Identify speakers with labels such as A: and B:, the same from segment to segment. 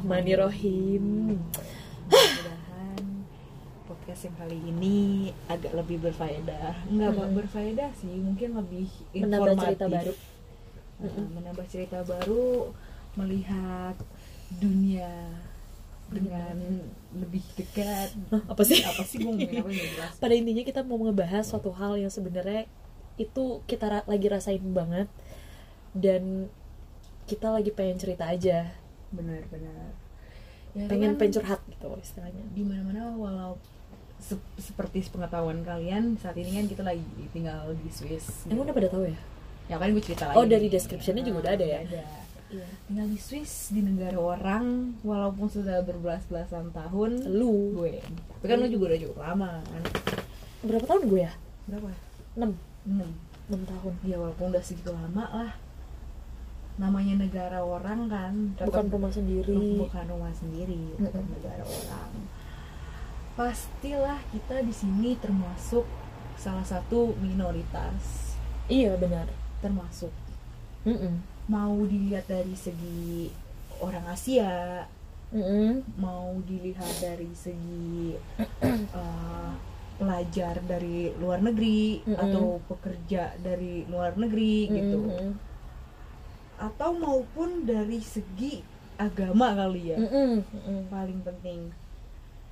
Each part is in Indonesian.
A: Bismillahirrohmanirrohim
B: mudah-mudahan podcast yang kali ini agak lebih berfaedah nggak
A: Mm-mm.
B: Pak, berfaedah sih mungkin lebih
A: Menambah
B: informatif
A: cerita baru.
B: Nah,
A: Mm-mm.
B: menambah cerita baru melihat dunia dengan lebih dekat
A: Iya. Hah, apa sih?
B: apa sih gue ngomongin apa nggak jelas
A: Pada intinya kita mau ngebahas suatu hal yang sebenarnya itu kita ra- lagi rasain banget Dan kita lagi pengen cerita aja
B: benar-benar Ya,
A: Pengen
B: kan,
A: pencurhat gitu istilahnya
B: di mana-mana walau se- seperti pengetahuan kalian saat ini kan kita lagi tinggal di Swiss
A: Emang udah pada tahu ya?
B: ya kan gue cerita lagi
A: Oh, dari description-nya juga udah ada ya?
B: ada.
A: Iya
B: tinggal di Swiss di negara orang walaupun sudah berbelas-belasan tahun
A: Lu
B: gue tapi kan lu juga udah cukup lama kan
A: Berapa tahun gue ya?
B: berapa
A: 6
B: enam
A: 6 tahun
B: ya walaupun udah segitu lama lah namanya negara orang kan
A: Bukan
B: tetap-
A: rumah sendiri
B: bukan rumah sendiri
A: Mm-mm.
B: tetap negara orang pastilah kita di sini termasuk salah satu minoritas
A: Iya benar
B: termasuk
A: Mm-mm.
B: mau dilihat dari segi orang Asia
A: Mm-mm.
B: mau dilihat dari segi eh, pelajar dari luar negeri
A: Mm-mm.
B: atau pekerja dari luar negeri gitu
A: Mm-mm.
B: atau maupun dari segi agama kali ya
A: Mm-mm. Mm-mm.
B: paling penting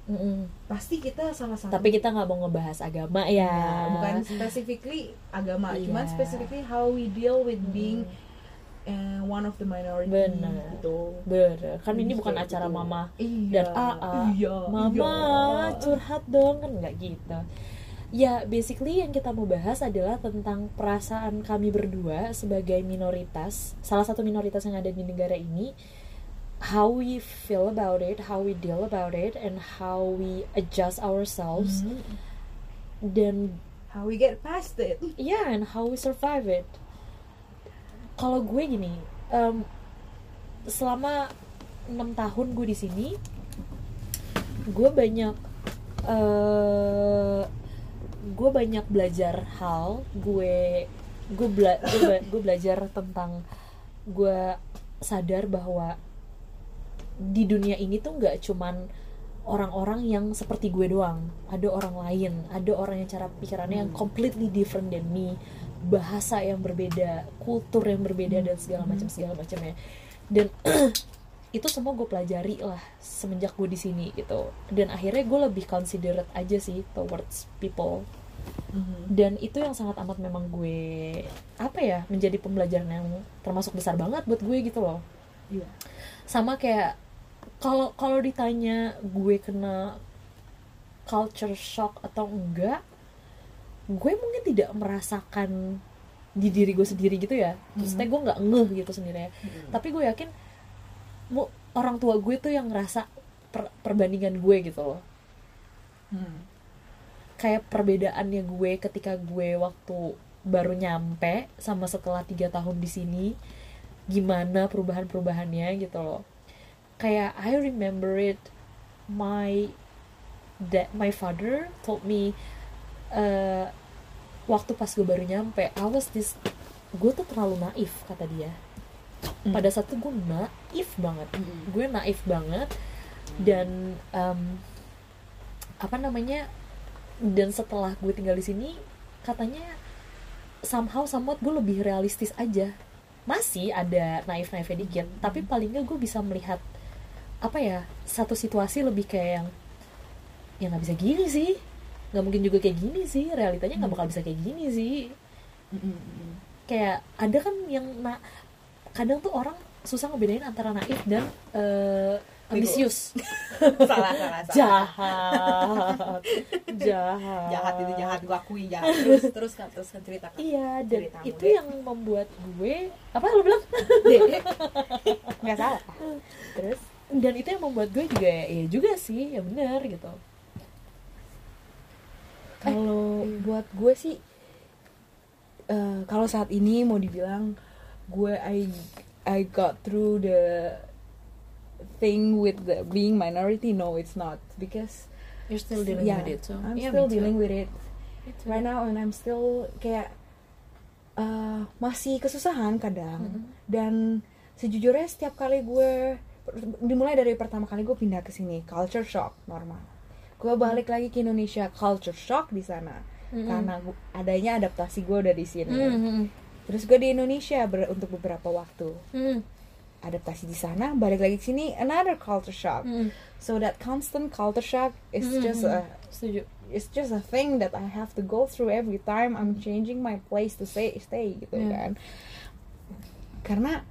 A: Mm-mm.
B: pasti kita salah satu
A: Tapi kita nggak mau ngebahas agama ya,
B: Ya, bukan specifically agama
A: Iya.
B: cuman specifically how we deal with being eh, one of the minority
A: Benar.
B: gitu
A: Ber, kan ini
B: Jadi
A: bukan
B: kayak
A: acara
B: gitu.
A: mama
B: Iya,
A: dan AA.
B: iya,
A: Mama
B: iya.
A: curhat dong kan nggak gitu. Ya basically yang kita mau bahas adalah tentang perasaan kami berdua sebagai minoritas, salah satu minoritas yang ada di negara ini. How we feel about it, how we deal about it, and how we adjust ourselves,
B: Mhm.
A: dan
B: how we get past it
A: Yeah, and how we survive it. Kalau gue gini, em, selama enam tahun gue di sini, gue banyak, eh gue banyak belajar hal. Gue, gue, bela- gue, be- gue belajar tentang gue sadar bahwa di dunia ini tuh nggak cuman orang-orang yang seperti gue doang ada orang lain ada orang yang cara pikirannya yang completely different than me bahasa yang berbeda kultur yang berbeda dan segala macam segala macamnya dan itu semua gue pelajari lah semenjak gue di sini gitu dan akhirnya gue lebih considerate aja sih towards people dan itu yang sangat amat memang gue apa ya menjadi pembelajaran yang termasuk besar banget buat gue gitu loh
B: Iya.
A: sama kayak kalau kalau ditanya gue kena culture shock atau enggak gue mungkin tidak merasakan di diri gue sendiri gitu ya maksudnya gue nggak ngeh gitu sendiri ya
B: Hmm.
A: tapi gue yakin mu- orang tua gue tuh yang ngerasa per- perbandingan gue gitu loh
B: Hmm.
A: kayak perbedaannya gue ketika gue waktu baru nyampe sama setelah tiga tahun di sini gimana perubahan-perubahannya gitu loh kayak I remember it my that my father told me eh, waktu pas gue baru nyampe I was this gue tuh terlalu naif kata dia
B: Hmm.
A: pada saat itu gue naif banget
B: Mm-mm.
A: gue naif banget dan em, apa namanya dan setelah gue tinggal di sini katanya somehow somewhat gue lebih realistis aja masih ada naif naifnya dikit tapi paling nggak gue bisa melihat apa ya satu situasi lebih kayak yang ya nggak bisa gini sih nggak mungkin juga kayak gini sih realitanya nggak bakal bisa kayak gini sih
B: hmm, Mm-mm.
A: kayak ada kan yang na- kadang tuh orang susah ngebedain antara naif dan eh, ambisius
B: salah salah salah
A: jahat jahat
B: jahat itu jahat gue akui jahat terus terus kan terus kan cerita
A: iya dan
B: Cerita
A: itu
B: muda.
A: yang membuat gue apa lo bilang
B: Iya. nggak salah
A: terus dan itu yang membuat gue juga ya juga sih ya benar gitu
B: kalau buat gue sih eh, kalau saat ini mau dibilang gue I I got through the thing with the being minority no it's not because
A: you're still
B: yeah, I'm still dealing with it right now and I'm still kayak eh, masih kesusahan kadang dan sejujurnya setiap kali gue dimulai dari pertama kali gue pindah ke sini culture shock normal gue balik lagi ke Indonesia culture shock di sana
A: Mm-mm.
B: karena gu- adanya adaptasi gue udah di sini
A: Hmm,
B: terus gue di Indonesia ber- untuk beberapa waktu
A: hmm,
B: adaptasi di sana balik lagi ke sini another culture shock
A: hmm.
B: so that constant culture shock is just a
A: setuju
B: it's just a thing that I have to go through every time I'm changing my place to stay stay gitu
A: Yeah.
B: kan karena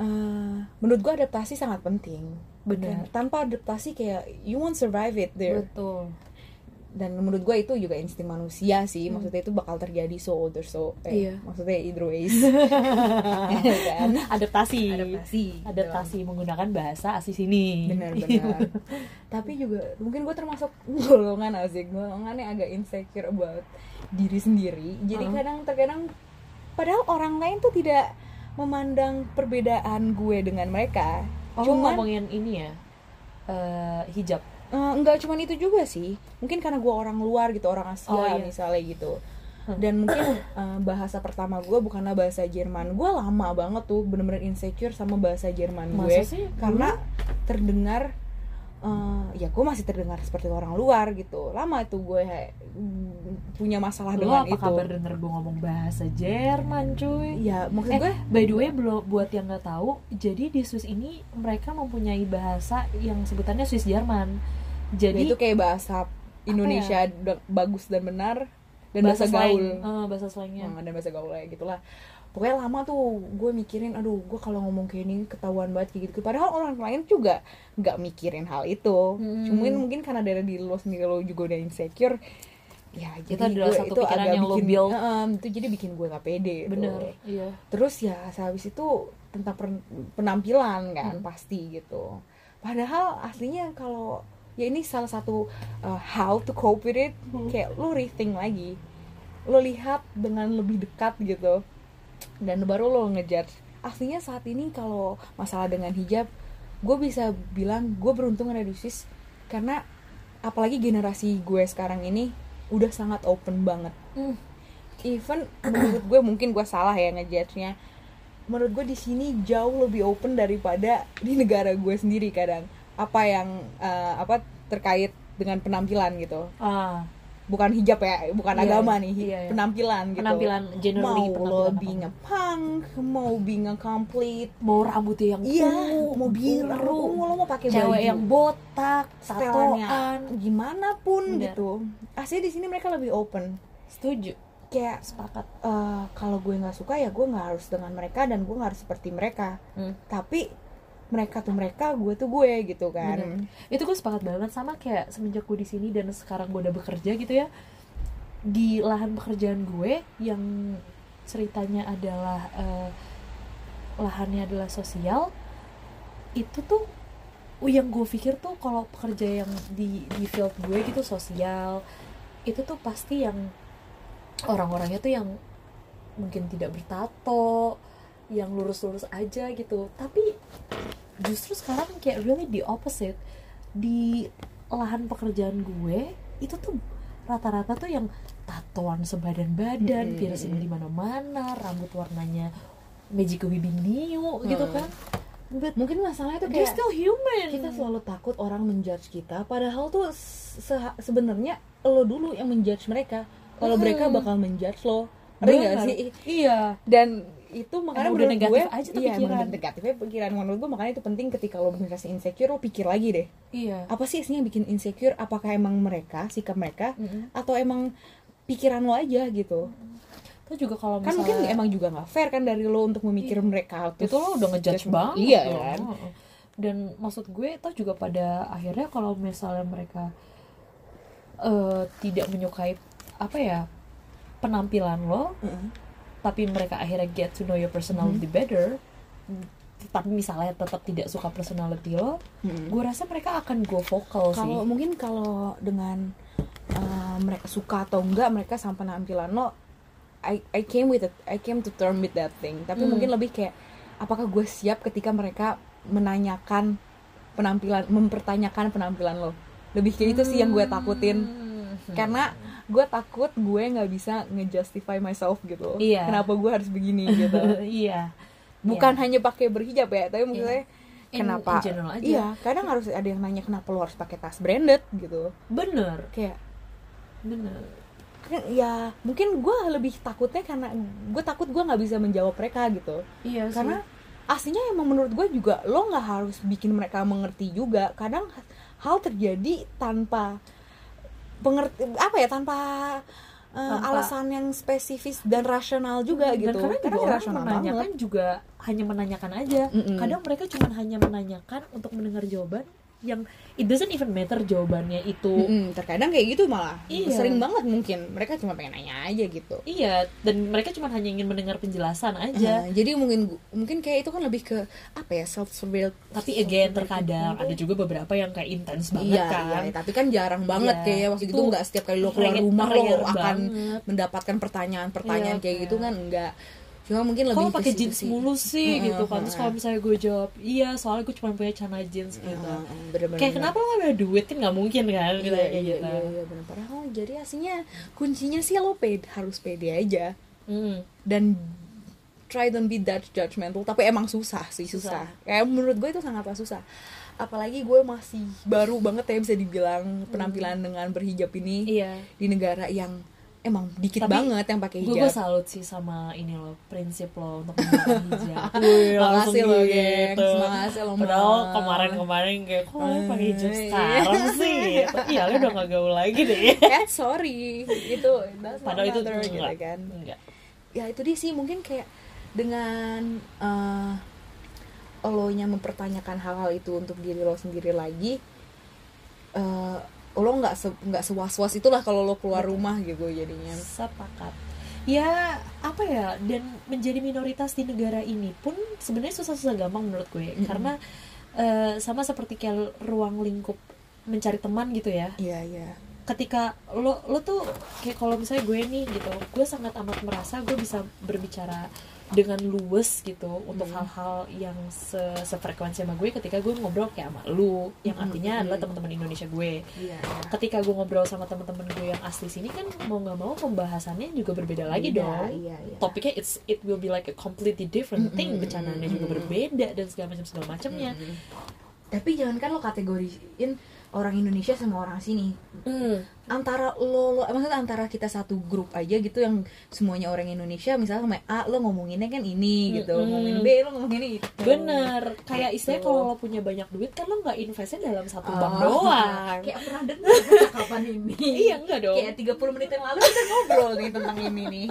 B: eh, menurut gua adaptasi sangat penting
A: Benar.
B: Dan tanpa adaptasi kayak you won't survive it there
A: betul
B: dan menurut gua itu juga insting manusia sih
A: Hmm.
B: maksudnya itu bakal terjadi so older so eh,
A: Iya.
B: maksudnya either ways kan
A: adaptasi
B: adaptasi gitu.
A: adaptasi menggunakan bahasa asli sini
B: benar-benar Iya. tapi juga mungkin gue termasuk golongan asik golongan yang agak insecure about diri sendiri jadi
A: Uh-uh.
B: kadang terkadang padahal orang lain tuh tidak memandang perbedaan gue dengan mereka
A: oh, lu
B: cuman
A: ngomongin ini ya eh, hijab
B: eh, nggak cuman itu juga sih mungkin karena gue orang luar gitu orang Asia
A: Oh, iya.
B: misalnya gitu
A: Hmm.
B: dan mungkin eh, bahasa pertama gue bukanlah bahasa Jerman gue lama banget tuh bener-bener insecure sama bahasa Jerman gue
A: Masa sih?
B: karena terdengar eh, ya gue masih terdengar seperti orang luar gitu lama itu gue mm, punya masalah
A: lo
B: dengan
A: apa
B: itu
A: kabar denger gue ngomong bahasa Jerman cuy
B: ya maksud
A: eh
B: gue
A: by the way belum buat yang nggak tahu jadi di Swiss ini mereka mempunyai bahasa yang sebutannya Swiss Jerman
B: ya
A: jadi ya?
B: itu kayak bahasa Indonesia da- bagus dan benar dan bahasa,
A: slang.
B: gaul
A: Eh, bahasa slangnya
B: Hmm, dan bahasa gaulnya gitulah pokoknya lama tuh gue mikirin aduh gue kalau ngomong kayak ini ketahuan banget kayak gitu padahal orang lain juga nggak mikirin hal itu
A: Hmm.
B: cuman mungkin karena dari diri lo sendiri lo juga udah insecure ya
A: Itu
B: jadi
A: adalah
B: gue
A: satu
B: itu
A: pikiran
B: agak
A: yang lo
B: bikin
A: build.
B: Em, itu jadi bikin gue gak pede tuh.
A: bener iya
B: terus ya sehabis itu tentang per- penampilan kan pasti gitu padahal aslinya kalau ya ini salah satu uh, how to cope with it
A: Hmm.
B: kayak lo rethink lagi lo lihat dengan lebih dekat gitu dan baru lo ngejar aslinya saat ini kalau masalah dengan hijab gue bisa bilang gue beruntung ada di Swiss karena apalagi generasi gue sekarang ini udah sangat open banget
A: Hmm.
B: even menurut gue mungkin gue salah ya ngejudge-nya menurut gue di sini jauh lebih open daripada di negara gue sendiri kadang apa yang eh, apa terkait dengan penampilan gitu
A: ah
B: bukan hijab ya bukan
A: Iya,
B: agama
A: iya.
B: nih hi-
A: Iya, iya.
B: penampilan gitu
A: penampilan generally
B: mau lo
A: penampilan apa?
B: being a punk mau being a complete
A: mau rambutnya yang
B: iya
A: ungu,
B: mau biru
A: ungu,
B: mau lo mau pakai
A: cewek
B: baju
A: yang botak
B: gitu. setelannya
A: tatoan
B: gimana pun
A: Bener.
B: gitu aslinya di sini mereka lebih open
A: setuju
B: kayak
A: sepakat
B: eh, kalau gue nggak suka ya gue nggak harus dengan mereka dan gue nggak harus seperti mereka tapi mereka tuh mereka gue tuh gue gitu kan
A: Bener. itu gue sepakat banget sama kayak semenjak gue di sini dan sekarang gue udah bekerja gitu ya di lahan pekerjaan gue yang ceritanya adalah eh, lahannya adalah sosial itu tuh oh, yang gue pikir tuh kalau pekerja yang di di field gue gitu sosial itu tuh pasti yang orang-orangnya tuh yang mungkin tidak bertato yang lurus-lurus aja gitu tapi justru sekarang kayak really the opposite di lahan pekerjaan gue itu tuh rata-rata tuh yang tatoan sebadan-badan,
B: Mm-mm.
A: piercing di mana-mana, rambut warnanya magical weaving new gitu
B: Hmm.
A: kan. But
B: mungkin masalahnya tuh
A: they're
B: kayak
A: still human.
B: kita selalu takut orang menjudge kita padahal tuh se- sebenarnya lo dulu yang menjudge mereka kalau
A: Mm.
B: mereka bakal menjudge lo Ngerti gak
A: Benar.
B: sih
A: Iya.
B: dan itu makanya
A: Emang udah
B: menurut
A: negatif
B: gue
A: aja tuh
B: iya, emang
A: pikiran.
B: udah negatifnya pikiran menurut gue makanya itu penting ketika lo merasa insecure lo pikir lagi deh
A: Iya.
B: apa sih isinya yang bikin insecure apakah emang mereka sikap mereka
A: Mm-mm.
B: atau emang pikiran lo aja gitu
A: Terus juga kalau
B: kan
A: misalnya Iya.
B: mungkin emang juga nggak fair kan dari lo untuk memikir mereka tuh
A: itu lo udah ngejudge banget
B: iya
A: dong.
B: kan
A: Heeh. dan maksud gue itu juga pada akhirnya kalau misalnya mereka eh, tidak menyukai apa ya penampilan lo
B: Heeh.
A: tapi mereka akhirnya get to know your personality
B: Mm-hmm.
A: better tapi misalnya tetap tidak suka personality lo
B: Mm.
A: gue rasa mereka akan go vokal
B: kalau
A: sih
B: mungkin kalau dengan uh, mereka suka atau enggak mereka sama penampilan lo I I came with it I came to term with that thing tapi
A: Hmm.
B: mungkin lebih kayak apakah gue siap ketika mereka menanyakan penampilan mempertanyakan penampilan lo lebih kayak itu sih yang gue takutin
A: Hmm.
B: karena gue takut gue nggak bisa ngejustify myself gitu
A: Iya.
B: kenapa gue harus begini gitu
A: iya
B: bukan hanya pakai berhijab ya tapi maksudnya
A: in, in
B: kenapa
A: general aja
B: iya kadang harus ada yang nanya kenapa lo harus pakai tas branded gitu
A: bener
B: kayak
A: bener
B: kan- ya mungkin gue lebih takutnya karena gue takut gue nggak bisa menjawab mereka gitu
A: iya sih.
B: karena aslinya emang menurut gue juga lo nggak harus bikin mereka mengerti juga kadang hal terjadi tanpa pengerti apa ya tanpa, eh,
A: Tanpa- Hmm,
B: alasan yang spesifis dan rasional juga
A: Dan
B: gitu
A: karena juga orang kan.
B: rasional
A: menanyakan juga hanya menanyakan aja
B: Mm-mm.
A: kadang mereka cuma hanya menanyakan untuk mendengar jawaban yang it doesn't even matter jawabannya itu
B: Mm-mm, terkadang kayak gitu malah
A: Iya.
B: sering banget mungkin mereka cuma pengen nanya aja gitu
A: iya dan mereka cuma hanya ingin mendengar penjelasan Iya aja
B: Nah, jadi mungkin gu- mungkin kayak itu kan lebih ke apa ya self surveil
A: tapi again terkadang ada juga beberapa yang kayak intens banget
B: Iya,
A: kan
B: iya, tapi kan jarang banget
A: Iya,
B: kayaknya waktu itu,
A: itu
B: nggak setiap kali lo keluar
A: rare-
B: rumah
A: rare
B: lo akan
A: banget.
B: mendapatkan
A: Iya,
B: pertanyaan-pertanyaan kayak
A: kayak-
B: gitu kan enggak. Cuma mungkin lebih
A: kalau
B: ke
A: pakai
B: situ
A: jeans
B: sih.
A: mulu sih
B: Mm-mm,
A: gitu kan terus kalau misalnya gue jawab iya soalnya gue cuma punya celana jeans
B: Mm-mm,
A: gitu
B: mm-mm, bener-bener.
A: kayak kenapa lo gak ada duit kan nggak mungkin kan
B: Iya,
A: gitu
B: iya,
A: kayak
B: iya,
A: gitu
B: iya, iya, bener. Padahal jadi aslinya kuncinya sih lo pede, harus pede aja
A: Mm.
B: dan try don't be that judgmental tapi emang susah sih susah,
A: Susah.
B: kayak menurut gue itu sangatlah susah apalagi gue masih baru banget ya bisa
A: Hmm.
B: dibilang penampilan dengan berhijab ini
A: iya
B: di negara yang emang dikit
A: Tapi,
B: banget yang pakai
A: gue
B: hijab.
A: gue salut sih sama ini lo prinsip lo untuk menggunakan hijab
B: Wih,
A: Langsung
B: makasih lo,
A: gitu.
B: gengs. Makasih lo,
A: padahal
B: Mbak.
A: kemarin-kemarin kayak kok lo pakai hijab
B: Eh,
A: sekarang sih gitu. iya lo udah gak gaul lagi deh
B: Eh sorry itu that's not
A: padahal itu
B: matter,
A: enggak,
B: gitu kan.
A: enggak.
B: Ya itu dia sih mungkin kayak dengan eh elonya mempertanyakan hal-hal itu untuk diri lo sendiri lagi eh lo nggak se nggak sewas-was itulah kalau lo keluar rumah gitu jadinya.
A: sepakat ya apa ya dan menjadi minoritas di negara ini pun sebenarnya susah-susah gampang menurut gue karena eh, sama seperti kayak ruang lingkup mencari teman gitu ya
B: Iya iya.
A: ketika lo lo tuh kayak kalau misalnya gue nih gitu gue sangat amat merasa gue bisa berbicara dengan luwes gitu untuk
B: Hmm.
A: hal-hal yang se sefrekuensi sama gue ketika gue ngobrol kayak sama lu yang
B: Hmm,
A: artinya adalah teman-teman Indonesia gue
B: Iya.
A: ketika gue ngobrol sama teman-teman gue yang asli sini kan mau nggak mau pembahasannya juga berbeda lagi
B: Beda,
A: dong
B: iya, Hmm, iya.
A: topiknya it's it will be like a completely different thing bercandanya juga berbeda dan segala macam segala macamnya
B: Hmm, Tapi jangan kan lo kategoriin orang Indonesia sama orang sini.
A: Hmm.
B: antara lo, lo maksudnya antara kita satu grup aja gitu yang semuanya orang Indonesia misalnya sama A lo ngomonginnya kan ini gitu
A: Mm-mm.
B: ngomongin B lo ngomonginnya itu
A: Bener, kayak istilahnya
B: Gitu.
A: kalau lo punya banyak duit kan lo nggak investnya dalam satu
B: Oh.
A: bank doang.
B: kayak pernah dengar kan kapan ini
A: iya enggak dong.
B: kayak 30 menit yang lalu kita ngobrol nih tentang ini nih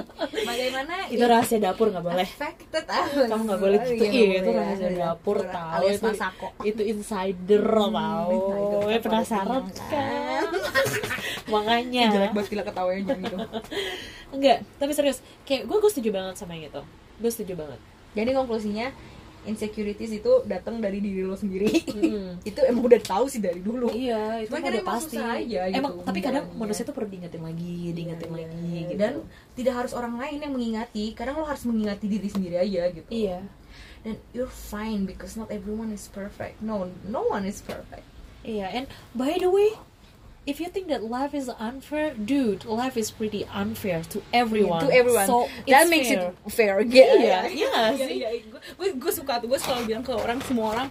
B: bagaimana
A: itu rahasia dapur nggak Iya, boleh.
B: affected
A: Kamu nggak boleh gitu. Iya, itu rahasia dapur tahu
B: alias
A: itu.
B: masako
A: Itu insider tahu.
B: insider,
A: Eh,
B: kita
A: penasaran
B: boleh
A: kan?
B: kenal,
A: Makanya.
B: jelek banget gila ketawanya jangan gitu
A: Enggak, tapi serius, kayak gue gue setuju banget sama yang itu. Gue setuju banget.
B: jadi konklusinya insecurities itu datang dari diri lo sendiri
A: Mm.
B: itu emang udah tahu sih dari dulu
A: Iya, itu
B: Cuman
A: mah
B: kadang
A: udah
B: emang
A: pasti.
B: susah aja gitu,
A: emang, tapi kadang
B: menjalaninya.
A: manusia tuh perlu diingetin lagi, diingetin
B: Iya,
A: lagi
B: iya.
A: gitu.
B: dan tidak harus orang lain yang mengingati kadang lo harus mengingati diri sendiri aja gitu
A: iya,
B: dan you're fine because not everyone is perfect no no one is perfect
A: Iya, and by the way, if you think that life is unfair, dude, life is pretty unfair to everyone.
B: to everyone
A: So it's
B: that makes
A: fair.
B: it fair
A: Iya, iya nggak sih?
B: gue gue suka tuh gue selalu bilang ke orang semua orang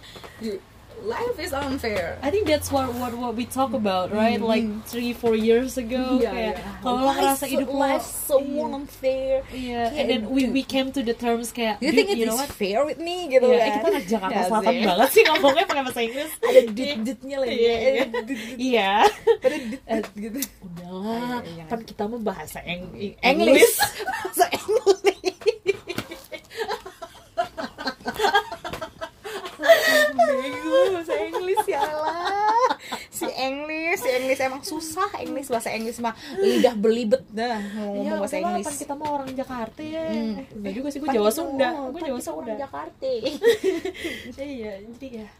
B: life is unfair
A: I think that's what what what we talk about, right? Like
B: Mm-hmm.
A: three four years ago,
B: Iya,
A: kayak
B: iya.
A: kalau lo
B: Why
A: ngerasa
B: so-
A: hidup lo,
B: life so unfair
A: iya,
B: Kayak,
A: and then we we came to the terms kayak,
B: you
A: dude,
B: think it
A: you know
B: is
A: what?
B: fair with me gitu
A: Iya, eh,
B: kan
A: kita anak Jakarta
B: Nggak
A: Selatan
B: sih?
A: banget sih ngomongnya pakai bahasa Inggris.
B: ada dut-dutnya lagi
A: Iya,
B: ada
A: iya.
B: dut-dut
A: Iya,
B: ada dut-dut
A: Eh,
B: gitu
A: udahlah.
B: Iya, iya.
A: Kan kita mah bahasa Eng-
B: English
A: English.
B: bahasa English Bego bahasa English ya lah si English si English emang susah English bahasa English mah lidah belibet dah ngomong
A: Iya,
B: bahasa
A: udahlah,
B: English
A: pan kita mah orang Jakarta ya.
B: Hmm.
A: Eh, enggak juga sih, gue
B: Pan
A: Jawa
B: kita
A: Sunda.
B: ngomong,
A: Gue
B: pan
A: Jawa
B: kita orang
A: Sunda.
B: Jakarta
A: Iya, jadi ya.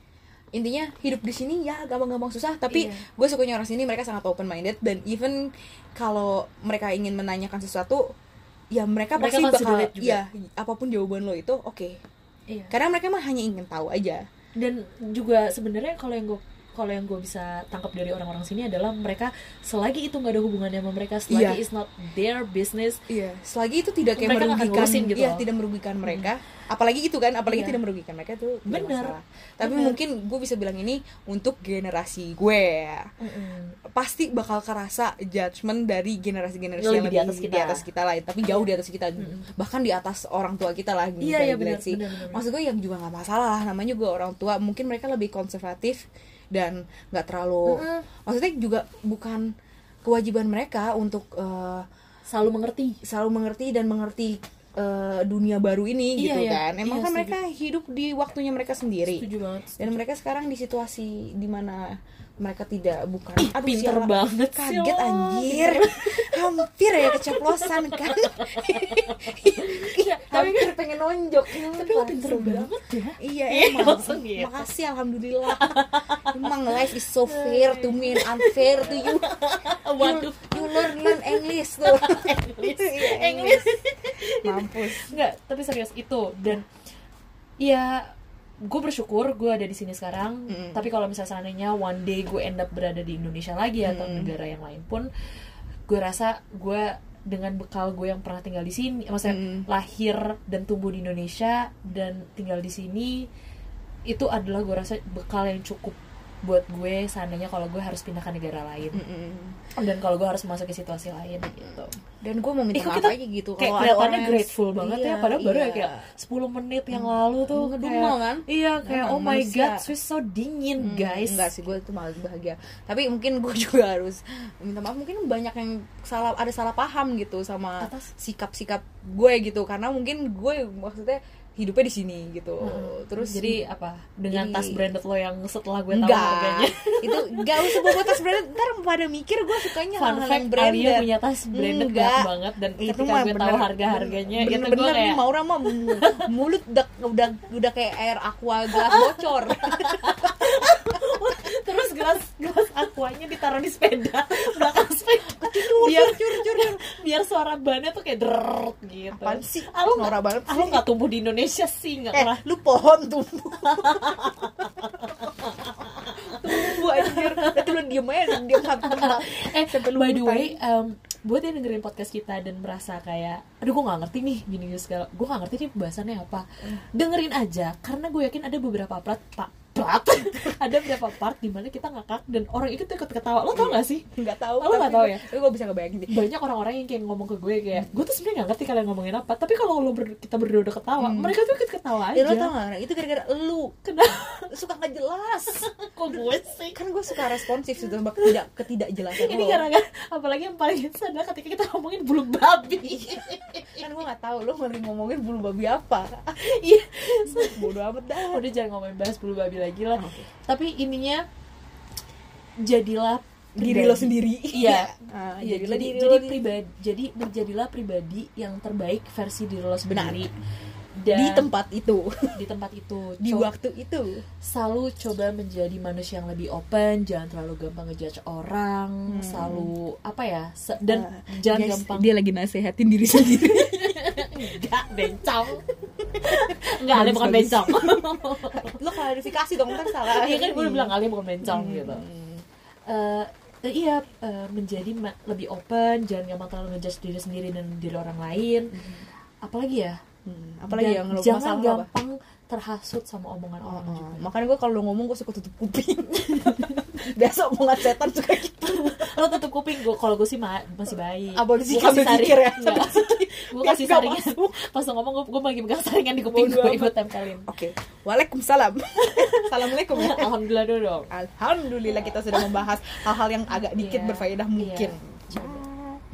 B: intinya hidup di sini ya gampang-gampang susah tapi
A: Iya.
B: gue sukanya orang sini mereka sangat open minded dan even kalau mereka ingin menanyakan sesuatu ya mereka,
A: Mereka
B: pasti bakal
A: considerate juga.
B: ya apapun jawaban lo itu oke
A: Iya.
B: karena mereka mah hanya ingin tahu aja
A: Dan juga sebenarnya kalau yang gue kalau yang gue bisa tangkap dari orang-orang sini adalah mereka selagi itu nggak ada hubungannya sama mereka selagi
B: Iya.
A: it's not their business
B: Iya, selagi itu tidak kayak
A: Mereka nggak akan
B: merugikan,
A: ngurusin gitu
B: iya,
A: loh.
B: tidak merugikan mereka. Apalagi itu kan, apalagi
A: Iya.
B: tidak merugikan mereka itu tidak
A: Bener.
B: masalah. Tapi
A: Bener.
B: mungkin gue bisa bilang ini untuk generasi gue. Pasti bakal kerasa judgement dari generasi-generasi
A: Lebih
B: yang
A: di
B: lebih
A: atas kita.
B: di atas kita lah, tapi jauh di atas kita, bahkan di atas orang tua kita lah.
A: Iya, iya,
B: gila-gila
A: bener,
B: sih.
A: bener, bener.
B: Maksud gue yang juga nggak masalah lah, namanya juga orang tua. Mungkin mereka lebih konservatif dan nggak terlalu.
A: Mm-mm.
B: Maksudnya juga bukan kewajiban mereka untuk eh,
A: selalu mengerti
B: selalu mengerti dan mengerti eh, dunia baru ini
A: Iya,
B: gitu
A: iya.
B: kan. Emang
A: Iya,
B: kan
A: setuju.
B: mereka hidup di waktunya mereka sendiri.
A: setuju banget
B: Dan mereka sekarang di situasi dimana mereka tidak bukan
A: Ih,
B: Aduh,
A: pinter
B: sialan.
A: banget sih
B: kaget
A: lo.
B: anjir hampir ya keceplosan kan
A: Iya, tapi
B: hampir pengen nonjok
A: tapi lo pinter
B: Langsung.
A: banget ya
B: Iya
A: Iya,
B: emang
A: langsung gitu.
B: Makasih alhamdulillah Emang life is so fair to me and unfair to you You,
A: waduh
B: you learn, learn English tuh
A: English.
B: Iya,
A: English.
B: Mampus
A: Enggak, tapi serius itu dan ya gue bersyukur gue ada di sini sekarang.
B: Mm.
A: Tapi kalau misalnya seandainya one day gue end up berada di Indonesia lagi atau negara yang lain pun, gue rasa gue dengan bekal gue yang pernah tinggal di sini, maksudnya
B: Mm.
A: lahir dan tumbuh di Indonesia dan tinggal di sini itu adalah gue rasa bekal yang cukup buat gue seandainya kalau gue harus pindah ke negara lain
B: Mm. Mm-mm.
A: dan kalau gue harus masuk ke situasi lain gitu.
B: dan gue mau
A: Ih,
B: minta
A: kok
B: maaf
A: kita
B: aja gitu
A: kayak
B: kalau ada
A: kelihatannya
B: orang yang-
A: grateful banget
B: Iya,
A: ya padahal baru ya
B: iya.
A: kayak 10 menit yang lalu tuh
B: Hmm,
A: kayak-
B: ngedumel kan?
A: iya kayak
B: Emang
A: oh my
B: manusia.
A: god Swiss so dingin
B: Hmm,
A: guys
B: enggak sih gue tuh malah bahagia tapi mungkin gue juga harus minta maaf mungkin banyak yang salah ada salah paham gitu sama
A: Atas.
B: sikap-sikap gue gitu karena mungkin gue maksudnya hidupnya di sini gitu terus
A: jadi apa dengan
B: jadi-
A: tas branded lo yang setelah gue tahu harganya
B: enggak itu enggak usah bawa tas branded ntar pada mikir gue sukanya
A: fun
B: Iya, hal-hal
A: fact
B: yang
A: Alia
B: branded
A: punya tas branded
B: Enggak.
A: banyak banget dan ketika gue tahu ya harga harganya
B: bener,
A: itu gue
B: bener nih
A: kayak
B: Maura mah mu- mulut udah udah udah kayak air aqua gelas bocor
A: terus gelas gelas aquanya ditaruh di sepeda belakang sepeda biar
B: cur cur cur
A: biar suara bannya tuh kayak drrrrt gitu
B: apaan sih
A: Ah, lo
B: Nora banget
A: ah,
B: sih
A: lo nggak tumbuh di Indonesia sih nggak
B: eh
A: pernah
B: lu pohon tumbuh tumbuh anjir itu lu diem aja diem satu tempat
A: eh
B: Sampai ya. lu
A: by the
B: muntah.
A: way um, buat yang dengerin podcast kita dan merasa kayak aduh gue nggak ngerti nih gini gini segala gue nggak ngerti nih pembahasannya apa dengerin aja karena gue yakin ada beberapa part pak part ada beberapa part di mana kita ngakak dan orang itu ikut ketawa lo tau gak sih
B: nggak tahu
A: Lo nggak tahu ya?
B: tapi gue bisa ngebayangin sih
A: banyak orang-orang yang kayak ngomong ke gue kayak gue tuh sebenarnya nggak ngerti kalian ngomongin apa tapi kalau lo ber- kita berdua udah ketawa mereka tuh ikut ketawa aja
B: Hmm. Ya, lo tau gak, itu gara-gara lu Kan
A: kenapa
B: suka nggak jelas
A: kok gue sih
B: kan gue suka responsif sih tentang tidak ketidakjelasan
A: ini
B: lo.
A: gara-gara apalagi yang paling instan adalah ketika kita ngomongin bulu babi
B: kan gue nggak tahu lo mau ngomongin bulu babi apa
A: iya
B: bodoh amat dah
A: udah jangan ngomongin bahas bulu babi lagi lah tapi intinya jadilah
B: diri lo
A: pribadi.
B: sendiri
A: iya
B: Ah,
A: Iya,
B: jadilah
A: jadi,
B: diri
A: jadi
B: lo sendiri.
A: pribadi, jadi berjadilah pribadi yang terbaik versi diri lo sendiri. Dan
B: di tempat itu
A: di tempat itu,
B: di
A: co-
B: waktu itu
A: selalu coba menjadi manusia yang lebih open, jangan terlalu gampang ngejudge orang, selalu apa ya, se- dan
B: Ah,
A: jangan
B: Hmm. guys,
A: gampang
B: dia lagi nasehatin diri sendiri
A: enggak bencong, enggak Ale
B: Bagus,
A: bukan
B: bagus.
A: bencong,
B: lo klarifikasi dong ntar salah Hmm.
A: iya kan gue udah bilang Ale bukan bencong gitu. eh eh, iya eh, menjadi ma- lebih open jangan gampang terlalu ngejudge diri sendiri dan diri orang lain apalagi ya
B: Hmm, apalagi
A: Dan
B: yang lo
A: jangan
B: masalah lo apa
A: gampang terhasut sama omongan orang gitu.
B: Oh,
A: juga
B: makanya gue kalau lo ngomong gue suka tutup kuping biasa omongan setan suka gitu
A: lo tutup kuping gue kalau gue sih ma- masih baik
B: Abolisi
A: Gua kasih
B: kami pikir ya,
A: Enggak.
B: Ah, sambil
A: gue
B: Biar
A: kasih
B: nggak
A: saringan
B: masuk.
A: pas lo ngomong gue gue lagi pegang saringan di kuping
B: Bodoh
A: gue
B: amat.
A: gue tempelin
B: oke waalaikumsalam assalamualaikum ya
A: alhamdulillah dulu dong
B: Alhamdulillah kita sudah membahas hal-hal yang agak dikit
A: Iya,
B: berfaedah mungkin.
A: iya.